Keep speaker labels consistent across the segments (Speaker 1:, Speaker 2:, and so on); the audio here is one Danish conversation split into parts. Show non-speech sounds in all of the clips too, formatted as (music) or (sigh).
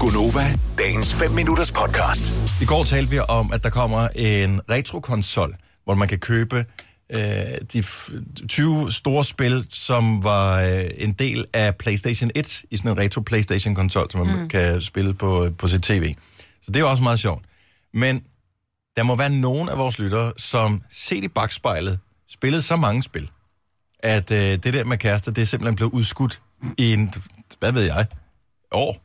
Speaker 1: Gunova, dagens 5 minutters podcast.
Speaker 2: I går talte vi om, at der kommer en retrokonsol, hvor man kan købe øh, de f- 20 store spil, som var øh, en del af PlayStation 1 i sådan en retro PlayStation-konsol, som man mm. kan spille på, på sit tv. Så det er jo også meget sjovt. Men der må være nogen af vores lyttere, som set i bagspejlet spillede så mange spil, at øh, det der med kærester, det er simpelthen blevet udskudt i en, hvad ved jeg, år.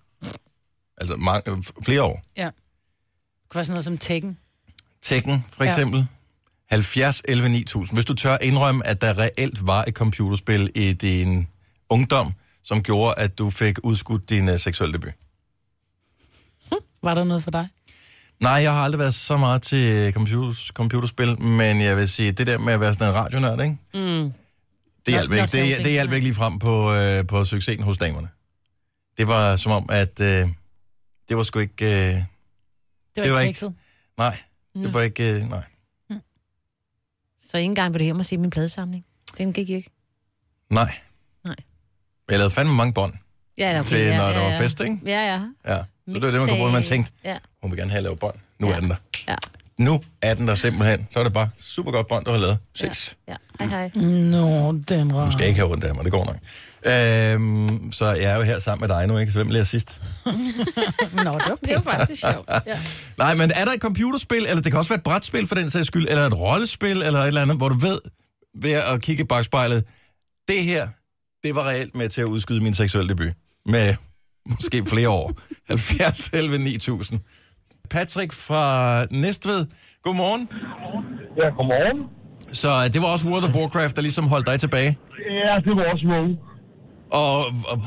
Speaker 2: Altså mange, øh, flere år.
Speaker 3: Ja. Det kunne være sådan noget som Tekken.
Speaker 2: Tekken, for
Speaker 3: Ja.
Speaker 2: eksempel. Ja. 70 11 9000. Hvis du tør indrømme, at der reelt var et computerspil i din ungdom, som gjorde, at du fik udskudt din uh, seksuelle debut.
Speaker 3: Var der noget for dig?
Speaker 2: Nej, jeg har aldrig været så meget til øh, computers, computerspil, men jeg vil sige, det der med at være sådan en radionørd, ikke? Mm. Det hjalp
Speaker 3: Not-
Speaker 2: ikke.
Speaker 3: not
Speaker 2: Det,
Speaker 3: helping,
Speaker 2: det hjalp
Speaker 3: nej.
Speaker 2: ikke lige frem på, øh, på succesen hos damerne. Det var som om, at øh, det var sgu ikke... Øh,
Speaker 3: Det var,
Speaker 2: Det var
Speaker 3: ikke
Speaker 2: ikke-
Speaker 3: sexet.
Speaker 2: nej, det var ikke... Øh, nej.
Speaker 4: Så ikke engang vil du hjem og se min pladesamling. Den gik ikke.
Speaker 2: Nej.
Speaker 4: Nej.
Speaker 2: Jeg lavede fandme mange bånd.
Speaker 4: Ja, okay,
Speaker 2: Til,
Speaker 4: ja,
Speaker 2: når
Speaker 4: ja,
Speaker 2: der var
Speaker 4: ja.
Speaker 2: fest, ikke?
Speaker 4: Ja, ja.
Speaker 2: Ja. Så det var det, man kunne bruge, man tænkte,
Speaker 4: Ja,
Speaker 2: hun vil gerne have lavet bånd. Nu ja.
Speaker 4: Ja.
Speaker 2: er den der.
Speaker 4: ja,
Speaker 2: Nu er den der simpelthen. Så er det bare super godt bånd, du har lavet. Ses. Ja.
Speaker 4: ja. Hej, hej.
Speaker 2: Mm.
Speaker 3: Nå, den var...
Speaker 2: Du skal ikke have ondt af mig, det går nok. Øhm, så jeg er jo her sammen med dig nu, ikke? Så hvem lærer sidst?
Speaker 3: Nå, (laughs) det var pænt. det var faktisk sjovt. Ja.
Speaker 2: Nej, men er der et computerspil, eller det kan også være et brætspil for den sags skyld, eller et rollespil, eller et eller andet, hvor du ved, ved at kigge i bagspejlet, det her, det var reelt med til at udskyde min seksuelle debut. Med måske flere år. 70, 11, 9000. Patrick fra Næstved, godmorgen.
Speaker 5: Ja, godmorgen.
Speaker 2: Så øh, det var også World of Warcraft, der ligesom holdt dig tilbage.
Speaker 5: Ja, det var også morgen.
Speaker 2: Og, og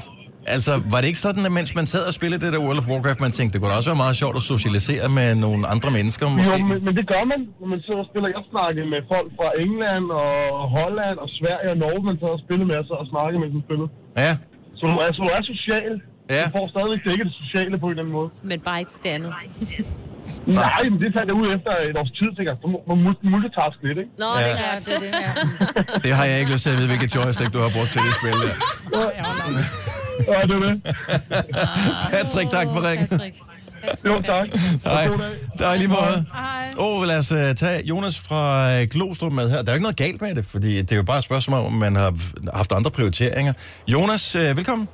Speaker 2: altså, var det ikke sådan, at mens man sad og spillede det der World of Warcraft, man tænkte, det kunne da også være meget sjovt at socialisere med nogle andre mennesker, måske?
Speaker 5: Jo, men, men det gør man, når man sidder og spiller. Jeg snakkede med folk fra England og Holland og Sverige og Norge, man tager og spiller med, og så og snakker med dem spillet.
Speaker 2: Ja.
Speaker 5: Så du er, så du er social.
Speaker 2: Ja.
Speaker 5: Du får stadigvæk ikke det sociale på en eller anden måde.
Speaker 4: Men bare ikke det andet.
Speaker 5: Nej, men det fandt jeg ud efter et års tid, tænker jeg. Så må man mul- multitaske lidt, (laughs) ikke?
Speaker 4: Nå,
Speaker 2: Ja.
Speaker 4: det er
Speaker 3: Ja,
Speaker 4: klart.
Speaker 3: det, er det, ja.
Speaker 2: Det har jeg ikke lyst til at vide, hvilket joystick du har brugt til det spil der.
Speaker 5: Ja, det er det.
Speaker 2: Patrick, tak for ringen.
Speaker 4: Patrick.
Speaker 5: Jo, tak.
Speaker 2: Hej.
Speaker 5: God dag.
Speaker 2: Tak i lige måde. Åh, oh, lad os uh, tage Jonas fra uh, Glostrup med her. Der er jo ikke noget galt med det, fordi det er jo bare et spørgsmål, om man har haft andre prioriteringer. Jonas, uh, velkommen.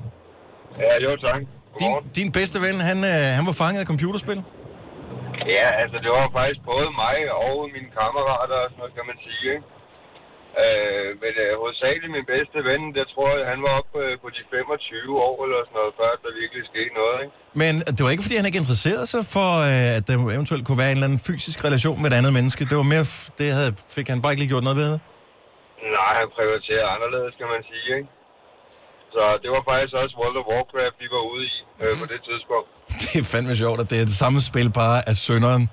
Speaker 6: Ja, jo tak.
Speaker 2: Din,
Speaker 6: Godmorgen.
Speaker 2: din bedste ven, han, uh, han var fanget af computerspil.
Speaker 6: Ja, altså det var faktisk både mig og mine kammerater og sådan noget, kan man sige. Ikke? Øh, men øh, hovedsageligt min bedste ven, der tror jeg, han var oppe øh, på de 25 år eller sådan noget, før der virkelig skete noget. Ikke?
Speaker 2: Men det var ikke, fordi han ikke interesserede sig for, uh, at der eventuelt kunne være en eller anden fysisk relation med et andet menneske. Det var mere, f- det havde, fik han bare ikke lige gjort noget ved.
Speaker 6: Nej, han prioriterer anderledes, kan man sige. Ikke? Så det var faktisk også World of Warcraft, vi var ude i øh, på det tidspunkt.
Speaker 2: Det er fandme sjovt, at det er det samme spil bare af sønderen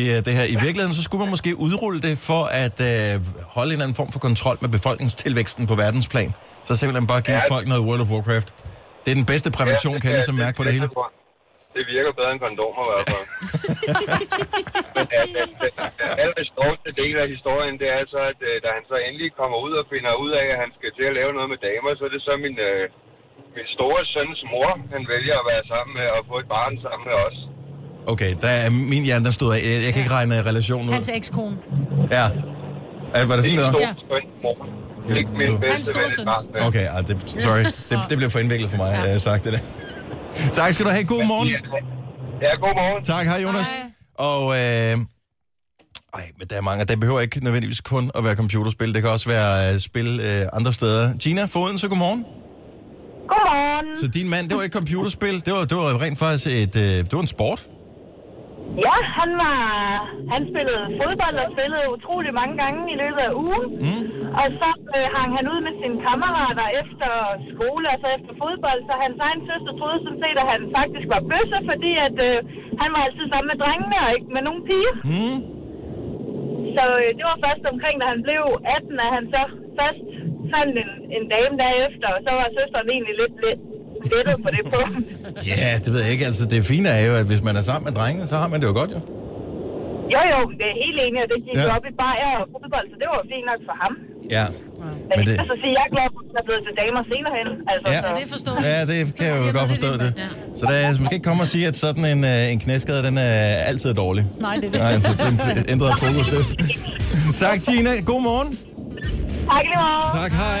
Speaker 2: i øh, det her. I virkeligheden, så skulle man måske udrulle det for at øh, holde en eller anden form for kontrol med befolkningstilvæksten på verdensplan. Så simpelthen bare give
Speaker 6: Ja.
Speaker 2: folk noget World of Warcraft. Det er den bedste prævention, kan jeg ligesom mærke på det hele.
Speaker 6: Det virker bedre end kondomer i hvert fald. Men ja, den, den, den aller sjoveste del af historien, det er så, at øh, da han så endelig kommer ud og finder ud af, at han skal til at lave noget med damer, så er det så min, øh, min store søns mor, han vælger at være sammen med og få et barn sammen med os.
Speaker 2: Okay, der er min hjerne, der stod af. Jeg, jeg kan ikke regne øh, relationen
Speaker 3: Hans
Speaker 2: ud.
Speaker 3: ekskone.
Speaker 2: Ja. Er, var det sådan,
Speaker 6: Min
Speaker 2: det var?
Speaker 6: store
Speaker 3: Ja.
Speaker 6: søns mor. Ikke min
Speaker 2: Hans
Speaker 6: bedste ven
Speaker 3: storesøns.
Speaker 6: et barn med.
Speaker 2: Okay, ah, det, sorry. Det, det blev for indviklet for mig, ja. sagt det der. Tak skal du have. God morgen.
Speaker 6: Ja, Ja, god morgen.
Speaker 2: Tak, hej Jonas.
Speaker 3: Hej.
Speaker 2: Og, øh, ej, men der er mange, og det behøver ikke nødvendigvis kun at være computerspil. Det kan også være øh, spil øh, andre steder. Gina Foden, så godmorgen.
Speaker 7: Godmorgen.
Speaker 2: Så din mand, det var ikke computerspil, det var, det var rent faktisk et, øh, det var en sport.
Speaker 7: Ja, han var... Han spillede fodbold og spillede utrolig mange gange i løbet af ugen. Mm. Og så øh, hang han ud med sine kammerater efter skole, altså efter fodbold. Så hans egen søster troede sådan set, at han faktisk var bøsse, fordi at, øh, han var altid sammen med drengene og ikke med nogen piger.
Speaker 2: Mm.
Speaker 7: Så øh, det var først omkring, da han blev 18, at han så først fandt en, en dame derefter. Og så var søsteren egentlig lidt, lidt lettet på det punkt.
Speaker 2: (laughs) Ja, det ved jeg ikke. Altså, det fine er jo, at hvis man er sammen med drengene, så har man det jo godt, jo.
Speaker 7: Jo, jo, det er helt enig, og det gik
Speaker 2: Ja.
Speaker 7: ja. op i bajer og fodbold, så det var fint nok for ham.
Speaker 2: Ja.
Speaker 7: Men
Speaker 2: Men
Speaker 7: det...
Speaker 2: det,
Speaker 7: altså, sige, jeg er glad for der er blevet til damer senere hen. Altså,
Speaker 2: Ja.
Speaker 7: så,
Speaker 2: Er
Speaker 3: Det forstår jeg.
Speaker 2: Ja, det kan jeg jo godt forstå det. Så der, er- man skal ikke komme og sige, at sådan en, øh, en knæskade, den er altid dårlig.
Speaker 3: Nej, det er det.
Speaker 2: Nej, altså, så den ændrede fokus lidt. Tak, Gina. God morgen.
Speaker 7: tak lige meget.
Speaker 2: Tak, hej.